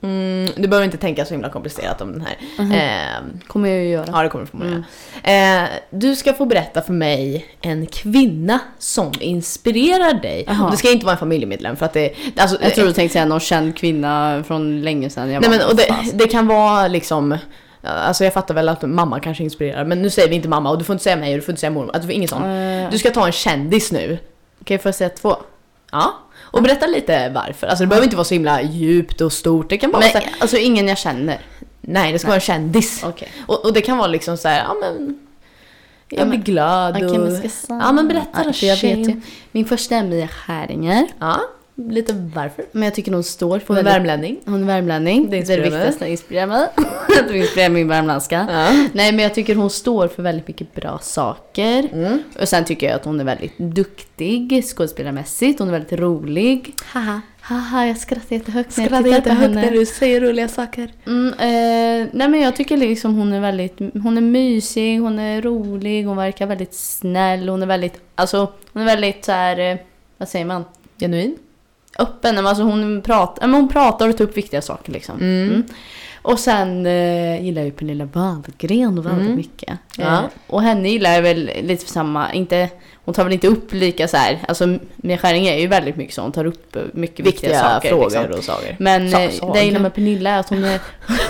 Speaker 2: Mm, du behöver inte tänka så himla komplicerat om den här. Eh,
Speaker 1: kommer jag ju göra.
Speaker 2: ja, det kommer
Speaker 1: Mm.
Speaker 2: du förmodligen göra. eh, Du ska få berätta för mig en kvinna som inspirerar dig.
Speaker 1: Jaha.
Speaker 2: Och det ska inte vara en familjemedlem för att det... Alltså,
Speaker 1: Jag tror du tänkte säga någon känd kvinna från länge sedan. Jag
Speaker 2: Nej
Speaker 1: bara,
Speaker 2: men och det,
Speaker 1: fan.
Speaker 2: det kan vara liksom Alltså jag fattar väl att mamma kanske inspirerar men nu säger vi inte mamma och du får inte säga mig och du får inte säga mormor, alltså du får ingen sån.
Speaker 1: Eh,
Speaker 2: Du ska ta en kändis nu.
Speaker 1: Okej, får jag säga två?
Speaker 2: Ja. Och berätta lite varför. Alltså det behöver inte vara så himla djupt och stort. Det kan bara
Speaker 1: Men,
Speaker 2: vara så här,
Speaker 1: alltså ingen jag känner.
Speaker 2: Nej det ska vara en kändis.
Speaker 1: Okej.
Speaker 2: Och, och det kan vara liksom så här, ja men Jag
Speaker 1: Ja,
Speaker 2: blir
Speaker 1: men-
Speaker 2: glad
Speaker 1: Okej,
Speaker 2: och...
Speaker 1: men ska jag säga?
Speaker 2: Ja men berätta då
Speaker 1: för jag vet ju.
Speaker 2: tjej.
Speaker 1: Min första är Mia Skäringer.
Speaker 2: Ja, lite varför.
Speaker 1: Men jag tycker hon står för
Speaker 2: Hon är
Speaker 1: väldigt-
Speaker 2: värmlänning.
Speaker 1: Hon är värmlänning.
Speaker 2: Det
Speaker 1: Det är det
Speaker 2: inspirerar mig.
Speaker 1: viktigaste. Inspirerar mig. du inspirerar min värmländska.
Speaker 2: Ja.
Speaker 1: Nej men jag tycker hon står för väldigt mycket bra saker.
Speaker 2: Mm.
Speaker 1: Och sen tycker jag att hon är väldigt duktig skådespelarmässigt. Hon är väldigt rolig.
Speaker 2: Haha.
Speaker 1: Haha, jag skrattar jättehögt när jag
Speaker 2: Skratta
Speaker 1: tittar på
Speaker 2: jättehögt när
Speaker 1: henne.
Speaker 2: du säger roliga saker.
Speaker 1: Mm, eh, nej men jag tycker liksom hon är väldigt, hon är mysig, hon är rolig, hon verkar väldigt snäll, hon är väldigt, alltså hon är väldigt så här, eh, vad säger man?
Speaker 2: Genuin.
Speaker 1: öppen. men Alltså hon, pratar, ja, men hon pratar och tar upp viktiga saker. Liksom.
Speaker 2: Mm.
Speaker 1: Och sen eh, gillar jag ju Pernilla Wahlgren väldigt
Speaker 2: Mm.
Speaker 1: mycket.
Speaker 2: Ja.
Speaker 1: Eh, och henne gillar jag väl lite för samma, inte, hon tar väl inte upp lika så här. alltså Mia Skäringer är ju väldigt mycket så, hon tar upp eh, mycket viktiga, saker. Liksom.
Speaker 2: och saker.
Speaker 1: Men
Speaker 2: Sa-
Speaker 1: eh,
Speaker 2: saker.
Speaker 1: det jag gillar med Pernilla är att hon är,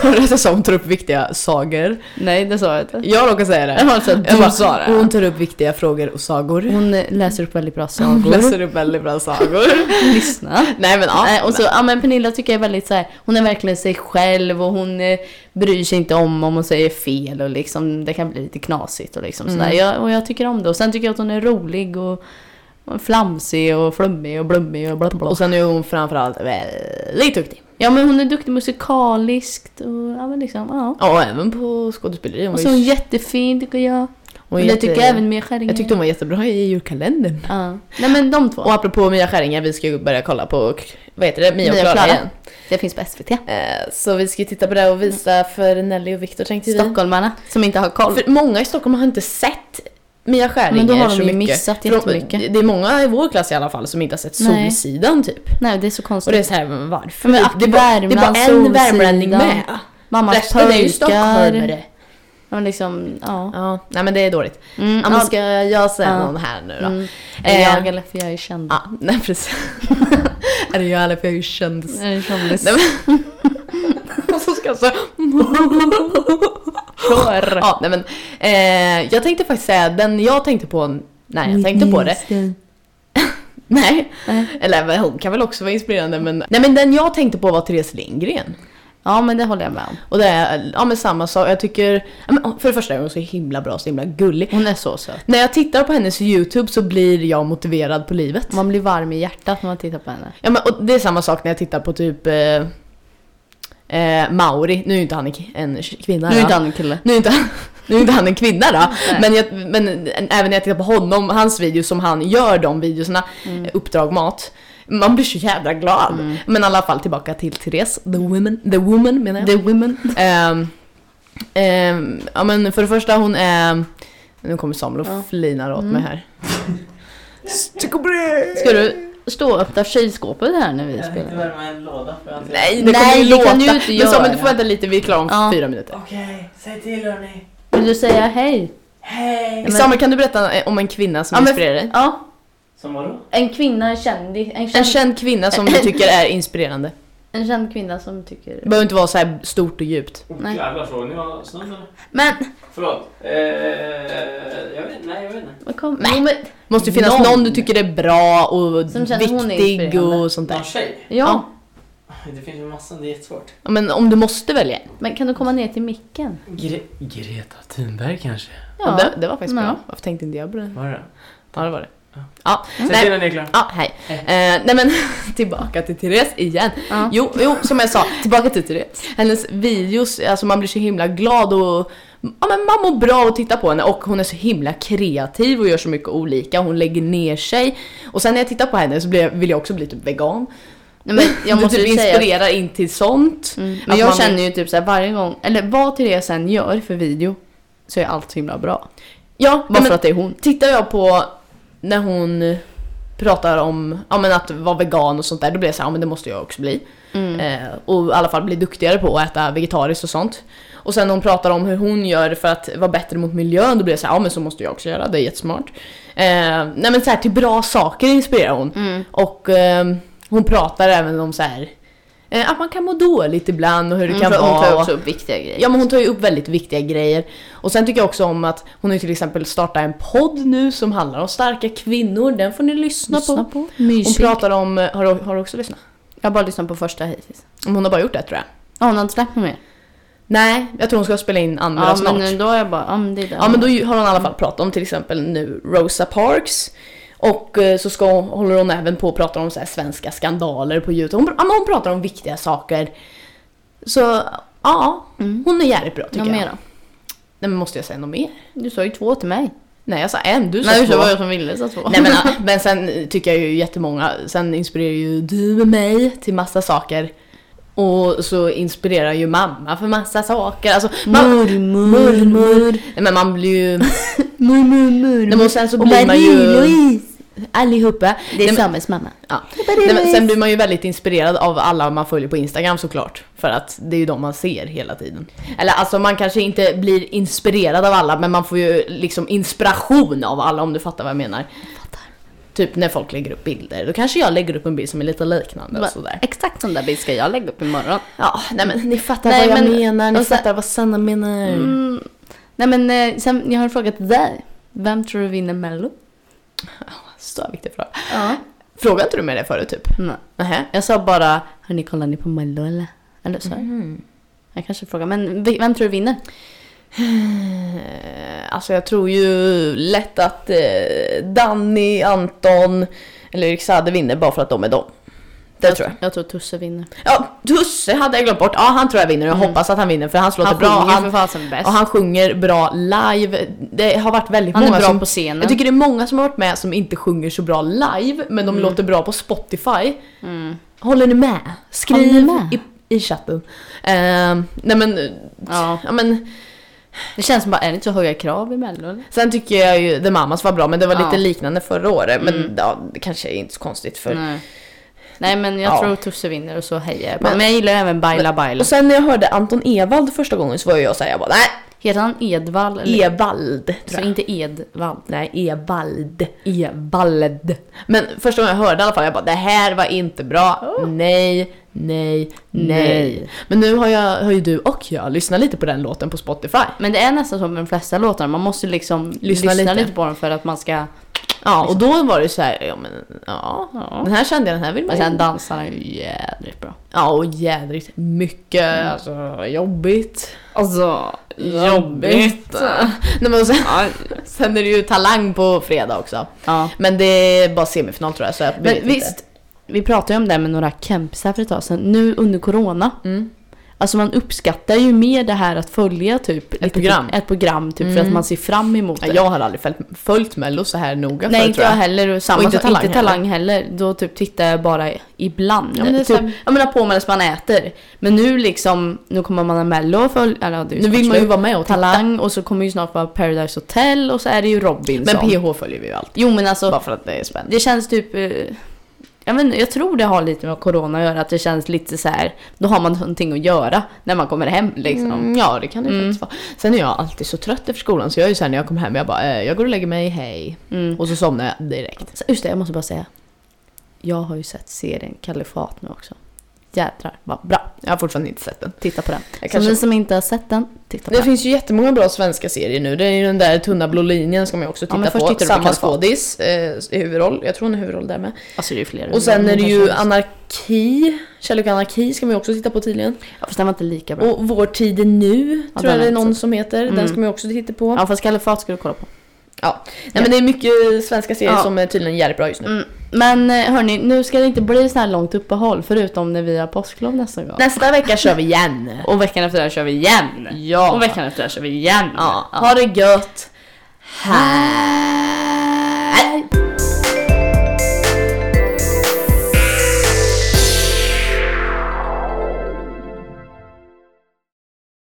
Speaker 2: Rätta som hon tar upp viktiga sager.
Speaker 1: nej det sa jag inte.
Speaker 2: Jag råkar säga det.
Speaker 1: Alltså,
Speaker 2: Jag
Speaker 1: du
Speaker 2: bara,
Speaker 1: sa det.
Speaker 2: Hon tar upp viktiga frågor och sagor.
Speaker 1: Hon eh, läser upp väldigt bra
Speaker 2: Hon
Speaker 1: sagor,
Speaker 2: läser upp väldigt bra sagor.
Speaker 1: lyssna.
Speaker 2: Nej men ja.
Speaker 1: Nej, och så, ja men Pernilla tycker jag är väldigt så här, hon är verkligen sig själv och hon eh, bryr sig inte om om hon säger fel och liksom det kan bli lite knasigt och liksom sådär.
Speaker 2: Mm.
Speaker 1: Jag, och jag tycker om det och sen tycker jag att hon är rolig och och flamsig och flummig och blummig och bla bla bla.
Speaker 2: Och sen är hon framförallt väldigt duktig.
Speaker 1: Ja men hon är duktig musikaliskt och ja men liksom ja.
Speaker 2: Ja, Och även på skådespeleri. Hon
Speaker 1: Och
Speaker 2: var
Speaker 1: så är hon
Speaker 2: ju-
Speaker 1: jättefin tycker jag.
Speaker 2: hon
Speaker 1: Och
Speaker 2: är
Speaker 1: det
Speaker 2: jätte-
Speaker 1: tycker jag även Mia Skäringer.
Speaker 2: Jag tyckte hon var jättebra i julkalendern.
Speaker 1: ja. Nej men de två.
Speaker 2: Och apropå Mia Skäringer, vi ska ju börja kolla på, vad heter det, Mia och
Speaker 1: Mia och
Speaker 2: Klara
Speaker 1: Klara.
Speaker 2: igen.
Speaker 1: Det finns på SVT.
Speaker 2: Eh, Så vi ska ju titta på det och visa för Nelly och Viktor tänkte vi.
Speaker 1: Stockholmarna som inte har koll.
Speaker 2: För många i Stockholm har inte sett Mia Skäringer
Speaker 1: Men då har de
Speaker 2: så
Speaker 1: ju
Speaker 2: mycket.
Speaker 1: missat
Speaker 2: För De,
Speaker 1: jättemycket.
Speaker 2: det är många i vår klass i alla fall som inte har sett
Speaker 1: Nej.
Speaker 2: Solsidan typ.
Speaker 1: Nej det är så konstigt.
Speaker 2: Och det är så här, men varför?
Speaker 1: Men
Speaker 2: det, är bara, det är bara en
Speaker 1: Värmland,
Speaker 2: värmlänning
Speaker 1: Solsidan.
Speaker 2: med.
Speaker 1: Mammas
Speaker 2: Resten är ju stockholmare.
Speaker 1: Ja, men liksom, ja.
Speaker 2: Ja, nej men det är dåligt.
Speaker 1: Mm,
Speaker 2: Ja, men ska jag säga
Speaker 1: Ja.
Speaker 2: någon här nu då?
Speaker 1: mm.
Speaker 2: Eh,
Speaker 1: Eller jag eller för jag är känd.
Speaker 2: Ja, nej precis. är det jag eller för jag är ju kändis.
Speaker 1: Jag är kändis.
Speaker 2: Nej, men- Och så ska jag så här-
Speaker 1: Kör!
Speaker 2: Ja, nej men, eh, jag tänkte faktiskt säga den jag tänkte på när jag tänkte på
Speaker 1: Mm.
Speaker 2: det. Nej,
Speaker 1: Nej.
Speaker 2: eller men hon kan väl också vara inspirerande men... Nej men den jag tänkte på var Therese Lindgren.
Speaker 1: Ja, men det håller jag med om.
Speaker 2: Och det är, ja men samma sak, jag tycker... ja, men För det första är hon så himla bra, så himla gullig.
Speaker 1: Hon är så söt.
Speaker 2: När jag tittar på hennes YouTube så blir jag motiverad på livet.
Speaker 1: Man blir varm i hjärtat när man tittar på henne.
Speaker 2: Ja men och det är samma sak när jag tittar på typ eh, eh, Mauri, nu är ju inte han en k- en kvinna
Speaker 1: Nu är
Speaker 2: då.
Speaker 1: inte han en kille.
Speaker 2: nu är inte han, nu är inte han en kvinna då,
Speaker 1: Nej.
Speaker 2: men, jag, men även när jag tittar på honom, hans videos som han gör de videorna,
Speaker 1: Mm.
Speaker 2: eh, Uppdrag Mat, man blir så jävla glad. Men i alla fall tillbaka till Therese, the woman, the woman menar jag.
Speaker 1: The women.
Speaker 2: Ehm, ehm, ja men för det första hon är... Nu kommer Samuel och flinar åt
Speaker 1: Mm.
Speaker 2: mig här.
Speaker 1: Ska du stå och öppna kylskåpet här när vi
Speaker 3: Jag tänkte
Speaker 1: spelar?
Speaker 3: värma en låda för att...
Speaker 2: Nej, det
Speaker 1: Nej,
Speaker 2: kommer ju
Speaker 1: det
Speaker 2: låta.
Speaker 1: kan du inte
Speaker 2: men Samuel du
Speaker 1: göra.
Speaker 2: får vänta lite, vi är klara om
Speaker 1: Ja.
Speaker 2: fyra minuter.
Speaker 3: Okej, säg till hörni.
Speaker 1: Vill du säga hej?
Speaker 3: Hej!
Speaker 1: men-
Speaker 2: Samuel kan du berätta eh, om en kvinna som
Speaker 1: Ja, men-
Speaker 2: inspirerar dig?
Speaker 1: Ja,
Speaker 3: Som vadå?
Speaker 1: en kvinna, en kändis. En
Speaker 2: En
Speaker 1: känd,
Speaker 2: känd kvinna som du tycker är inspirerande.
Speaker 1: en känd kvinna som tycker...
Speaker 2: Det behöver inte vara så här stort och djupt.
Speaker 3: Oh,
Speaker 1: Nej.
Speaker 3: jävlar, frågar ni vad snön eller?
Speaker 1: Men,
Speaker 3: Förlåt. Eh, jag vet, nej, jag vet inte.
Speaker 1: vad kom... Nej. men
Speaker 2: måste ju finnas någon,
Speaker 1: Någon.
Speaker 2: du tycker är bra och
Speaker 1: Som känns hon är
Speaker 2: viktig
Speaker 1: inspirerande.
Speaker 2: och sånt
Speaker 3: Någon
Speaker 2: där.
Speaker 3: tjej?
Speaker 1: ja,
Speaker 3: Det finns ju massa, det är jättesvårt.
Speaker 2: Ja, Men om du måste välja en.
Speaker 1: men kan du komma ner till micken?
Speaker 3: Gre- Greta Thunberg kanske?
Speaker 2: Ja. Det, det var faktiskt
Speaker 1: Ja.
Speaker 2: bra. Varför tänkte inte jag på det?
Speaker 3: Var det?
Speaker 2: Ja, det var det.
Speaker 3: Ja.
Speaker 2: Ja,
Speaker 3: Säg
Speaker 2: nej.
Speaker 3: till när ni är klara.
Speaker 2: Ja, hej. Eh, nej men tillbaka till Therese igen.
Speaker 1: Ja.
Speaker 2: Jo, jo, som jag sa, tillbaka till Therese. Hennes videos, alltså man blir så himla glad och ja, men man mår bra att titta på henne och hon är så himla kreativ och gör så mycket olika. Hon lägger ner sig. Och sen när jag tittar på henne så blir jag, vill jag också bli typ vegan.
Speaker 1: Nej, men jag
Speaker 2: Du
Speaker 1: måste
Speaker 2: typ
Speaker 1: ju säga...
Speaker 2: inspirerar in till sånt.
Speaker 1: Mm, men
Speaker 2: Att
Speaker 1: jag
Speaker 2: man-
Speaker 1: känner ju typ såhär varje gång, eller vad Therese än gör för video så är allt så himla bra.
Speaker 2: Ja,
Speaker 1: Bara
Speaker 2: men,
Speaker 1: för att det är hon.
Speaker 2: Tittar jag på när hon pratar om ja, men att vara vegan och sånt där, då blir jag såhär, ja men det måste jag också bli.
Speaker 1: Mm.
Speaker 2: Eh, och i alla fall bli duktigare på att äta vegetariskt och sånt. Och sen när hon pratar om hur hon gör för att vara bättre mot miljön, då blir jag såhär, ja men så måste jag också göra, det är jättesmart. Eh, nej men såhär, till bra saker inspirerar hon.
Speaker 1: Mm.
Speaker 2: Och ehm, hon pratar även om såhär, eh, att man kan må dåligt ibland och hur det
Speaker 1: hon,
Speaker 2: kan
Speaker 1: tar-
Speaker 2: vara.
Speaker 1: Mm, hon tar också upp viktiga grejer.
Speaker 2: Ja men hon tar ju upp väldigt viktiga grejer. Och sen tycker jag också om att hon har ju till exempel startat en podd nu som handlar om starka kvinnor. Den får ni lyssna, på. Hon
Speaker 1: Mysigt.
Speaker 2: pratar om, eh, har du, har du också lyssnat?
Speaker 1: Jag har bara lyssnat på första hittills.
Speaker 2: Om Hon har bara gjort det tror jag.
Speaker 1: Ja, hon har inte släppt något mer?
Speaker 2: Nej, jag tror hon ska spela in andra
Speaker 1: Ja,
Speaker 2: snart.
Speaker 1: men då är jag bara, ja men det är det.
Speaker 2: Ja men då ju- har hon i alla fall pratat om till exempel nu Rosa Parks. Och eh, så ska, hon- håller hon även på att prata om så här svenska skandaler på Youtube. Hon, ja, men hon pratar om viktiga saker. Så ja,
Speaker 1: Mm.
Speaker 2: hon är jävligt bra tycker
Speaker 1: Något
Speaker 2: jag.
Speaker 1: mer då?
Speaker 2: Nej men måste jag säga något mer?
Speaker 1: Du sa ju två till mig.
Speaker 2: Nej jag sa en, du sa
Speaker 1: Nej,
Speaker 2: två.
Speaker 1: det var jag som ville sa två.
Speaker 2: Nej men, ja, men sen tycker jag ju jättemånga, sen inspirerar ju du mig till massa saker. Och så inspirerar ju mamma för massa saker. Alltså, man,
Speaker 1: Mormor,
Speaker 2: Mormor. nej,
Speaker 1: Mm.
Speaker 2: men man blir ju...
Speaker 1: mormor, mormor.
Speaker 2: Nej, men sen så
Speaker 1: Och
Speaker 2: blir man ju...
Speaker 1: Marie-Louise.
Speaker 2: Allihopa.
Speaker 1: Det
Speaker 2: Nej,
Speaker 1: är
Speaker 2: men-
Speaker 1: Samuels mamma.
Speaker 2: Ja. Nej, men sen blir man ju väldigt inspirerad av alla man följer på Instagram såklart. För att det är ju de man ser hela tiden. Eller alltså man kanske inte blir inspirerad av alla men man får ju liksom inspiration av alla om du fattar vad jag menar. Typ när folk lägger upp bilder. Då kanske jag lägger upp en bild som är lite liknande och sådär.
Speaker 1: Exakt sån där bild ska jag lägga upp imorgon.
Speaker 2: Ja, nej men ni fattar
Speaker 1: Nej,
Speaker 2: vad jag
Speaker 1: men-
Speaker 2: menar, ni
Speaker 1: och sen-
Speaker 2: fattar vad Sanna menar.
Speaker 1: Mm. Nej men eh, sen, jag har en fråga till dig. Vem tror du vinner mello?
Speaker 2: Så viktig fråga.
Speaker 1: Ja.
Speaker 2: Frågade inte du mig det förut typ?
Speaker 1: Nej.
Speaker 2: Nähä.
Speaker 1: Jag sa bara, hörni kollar ni på mello eller? Eller så.
Speaker 2: Mm. Mm-hmm.
Speaker 1: Jag kanske frågar, men v- vem tror du vinner?
Speaker 2: Eh, Alltså jag tror ju lätt att eh, Danny, Anton eller Erik Saade vinner bara för att de är de. Det tror jag.
Speaker 1: Jag tror Tusse vinner.
Speaker 2: Ja, Tusse hade jag glömt bort. Ja, han tror jag vinner. Jag hoppas att han vinner för han låter
Speaker 1: Mm. han
Speaker 2: bra.
Speaker 1: sjunger för
Speaker 2: Han,
Speaker 1: fasen bäst.
Speaker 2: och han sjunger bra live. Det har varit väldigt
Speaker 1: han är
Speaker 2: många
Speaker 1: bra
Speaker 2: som...
Speaker 1: på scenen.
Speaker 2: Jag tycker det är många som har varit med som inte sjunger så bra live, men de låter bra på Spotify.
Speaker 1: Mm.
Speaker 2: Håller ni med?
Speaker 1: Håller
Speaker 2: Skriv
Speaker 1: ni med?
Speaker 2: I, i chatten. Eh, nej men,
Speaker 1: Ja.
Speaker 2: ja men
Speaker 1: Det känns som bara, är det inte så höga krav i mello eller?
Speaker 2: Sen tycker jag ju The Mamas var bra, men det var
Speaker 1: Ja.
Speaker 2: lite liknande förra året. Men ja, det kanske är inte så konstigt för...
Speaker 1: Nej. Nej men jag
Speaker 2: Ja.
Speaker 1: tror Tusse vinner och så hejar jag på.
Speaker 2: Men-
Speaker 1: Men jag gillar även Baila Baila.
Speaker 2: Och sen när jag hörde Anton Ewald första gången så var ju jag såhär, jag bara nej,
Speaker 1: Heter han Edvall? Eller?
Speaker 2: Evald.
Speaker 1: så inte Edvall.
Speaker 2: Nej, Evald.
Speaker 1: Evald.
Speaker 2: Men första gången jag hörde i alla fall, jag bara det här var inte bra. Nej, nej, nej.
Speaker 1: Nej.
Speaker 2: Men nu har, jag, har ju du och jag lyssnat lite på den låten på Spotify.
Speaker 1: Men det är nästan så med de flesta låtarna, man måste liksom lyssna,
Speaker 2: lite.
Speaker 1: lite. på dem för att man ska...
Speaker 2: Ja, och då var det så här, ja men Liksom. ja.
Speaker 1: Ja.
Speaker 2: Den här kände jag, den här vill man
Speaker 1: Men
Speaker 2: ju-
Speaker 1: sen dansar han ju jädrigt bra.
Speaker 2: Ja, och jädrigt mycket alltså, jobbigt.
Speaker 1: Alltså,
Speaker 2: Nej, men och sen, sen är det ju Talang på fredag också.
Speaker 1: Ja.
Speaker 2: Men det är bara semifinal tror jag. Så jag
Speaker 1: Men
Speaker 2: vet
Speaker 1: visst, vi pratade ju om det här med några kämpisar för ett tag sedan. Nu under corona.
Speaker 2: Mm.
Speaker 1: Alltså man uppskattar ju mer det här att följa typ lite-
Speaker 2: program. Mm.
Speaker 1: Ett program typ för att man ser fram emot det.
Speaker 2: Inte. Jag har aldrig följt, följt Mello så här noga
Speaker 1: Nej
Speaker 2: förut,
Speaker 1: inte
Speaker 2: tror
Speaker 1: jag heller och samma
Speaker 2: Och inte
Speaker 1: inte, talang,
Speaker 2: Talang
Speaker 1: inte talang heller. Då typ tittar jag bara ibland.
Speaker 2: Ja, men det är
Speaker 1: typ,
Speaker 2: så här-
Speaker 1: jag menar på medan man äter. Men nu liksom, nu kommer man ha mello och följa, eller ja, det är
Speaker 2: Nu vill
Speaker 1: snart
Speaker 2: man ju
Speaker 1: slut.
Speaker 2: vara med och titta.
Speaker 1: Talang och så kommer ju snart vara Paradise Hotel och så är det ju Robinson.
Speaker 2: Men PH följer vi ju alltid.
Speaker 1: Jo men alltså,
Speaker 2: Bara för att det är spännande.
Speaker 1: det känns typ... eh, Jag, vet, inte, jag tror det har lite med corona att göra, att det känns lite så här. då har man någonting att göra när man kommer hem liksom.
Speaker 2: Mm, ja, det kan det ju faktiskt vara. Sen är jag alltid så trött efter skolan så jag är ju såhär när jag kommer hem, jag bara eh, jag går och lägger mig, hej.
Speaker 1: Mm.
Speaker 2: Och så somnar jag direkt.
Speaker 1: Så, Just det, jag måste bara säga. Jag har ju sett serien Kalifat nu också. Jädrar vad bra.
Speaker 2: Jag har fortfarande inte sett den.
Speaker 1: Titta på den.
Speaker 2: Jag
Speaker 1: Så
Speaker 2: kanske-
Speaker 1: ni som inte har sett den, titta på
Speaker 2: Det
Speaker 1: den.
Speaker 2: finns ju jättemånga bra svenska serier nu. Det är ju den där tunna blå linjen ska man ju också
Speaker 1: Ja,
Speaker 2: titta
Speaker 1: men först
Speaker 2: på.
Speaker 1: tittar du på
Speaker 2: Samma
Speaker 1: Kalifat.
Speaker 2: skådis eh, i huvudroll. Jag tror hon är huvudroll där med.
Speaker 1: Alltså det är ju flera.
Speaker 2: Och sen är det ju
Speaker 1: Anna...
Speaker 2: anarki. Kärlek och anarki ska man ju också titta på tydligen.
Speaker 1: Ja, fast den var inte lika bra.
Speaker 2: Och Vår tid är nu,
Speaker 1: Ja,
Speaker 2: tror jag
Speaker 1: den
Speaker 2: det är
Speaker 1: har jag
Speaker 2: någon
Speaker 1: inte
Speaker 2: som heter. Den
Speaker 1: Mm.
Speaker 2: ska man ju också titta på.
Speaker 1: Ja fast Kalifat ska du kolla på.
Speaker 2: Ja. Nej, men det är mycket svenska serier
Speaker 1: Ja.
Speaker 2: som är tydligen jävligt bra just nu.
Speaker 1: Mm. Men eh, hörni, nu ska det inte bli så här långt uppehåll förutom när vi har påsklov nästa gång.
Speaker 2: Nästa vecka kör vi igen.
Speaker 1: Och veckan efter det här kör vi igen.
Speaker 2: Ja.
Speaker 1: Och veckan efter det här kör vi igen.
Speaker 2: Ja. Ha det gött. Hej!